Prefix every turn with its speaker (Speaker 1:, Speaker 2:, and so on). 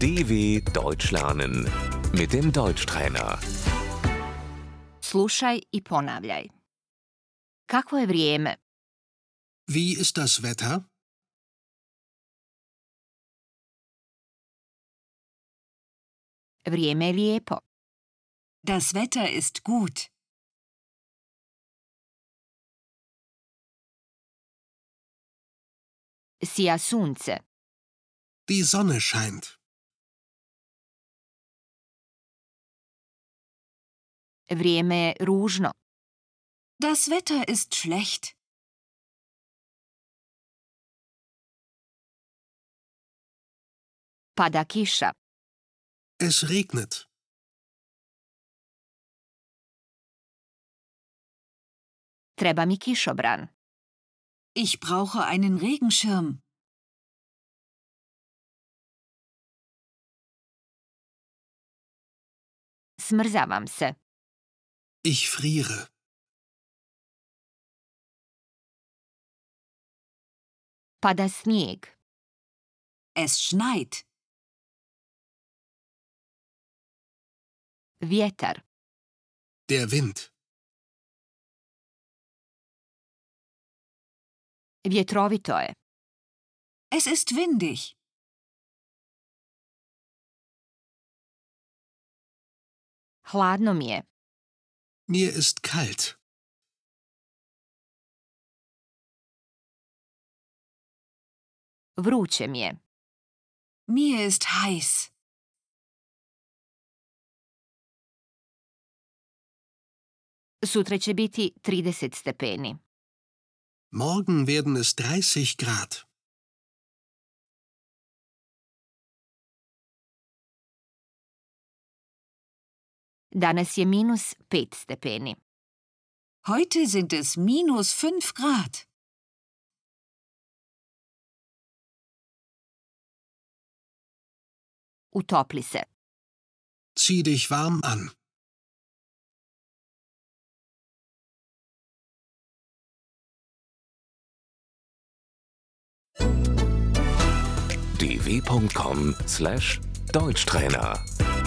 Speaker 1: DW Deutsch lernen mit dem Deutschtrainer.
Speaker 2: Slušaj i ponavljaj. Kakvo je vrijeme?
Speaker 3: Wie ist das Wetter?
Speaker 2: Vrijeme je lijepo.
Speaker 4: Das Wetter ist gut.
Speaker 2: Sija sunce.
Speaker 3: Die Sonne scheint.
Speaker 2: Vrijeme je ružno.
Speaker 4: Das Wetter ist schlecht.
Speaker 2: Pada kiša.
Speaker 3: Es regnet.
Speaker 2: Treba mi kišobran.
Speaker 4: Ich brauche einen Regenschirm.
Speaker 2: Smrzavam se.
Speaker 3: Ich friere.
Speaker 2: Pada snijeg.
Speaker 4: Es schneit.
Speaker 2: Vjetar.
Speaker 3: Der Wind.
Speaker 2: Vjetrovito je.
Speaker 4: Es ist windig.
Speaker 2: Hladno mi je.
Speaker 3: Mir ist kalt.
Speaker 2: Vruće mi je.
Speaker 4: Mir ist heiß.
Speaker 2: Sutra će biti 30 stepeni.
Speaker 3: Morgen werden es 30 Grad.
Speaker 2: Danas je minus 5 stepeni.
Speaker 4: Heute sind es minus 5 Grad.
Speaker 2: Utopli se.
Speaker 3: Zieh dich warm an.
Speaker 1: dw.com/deutschtrainer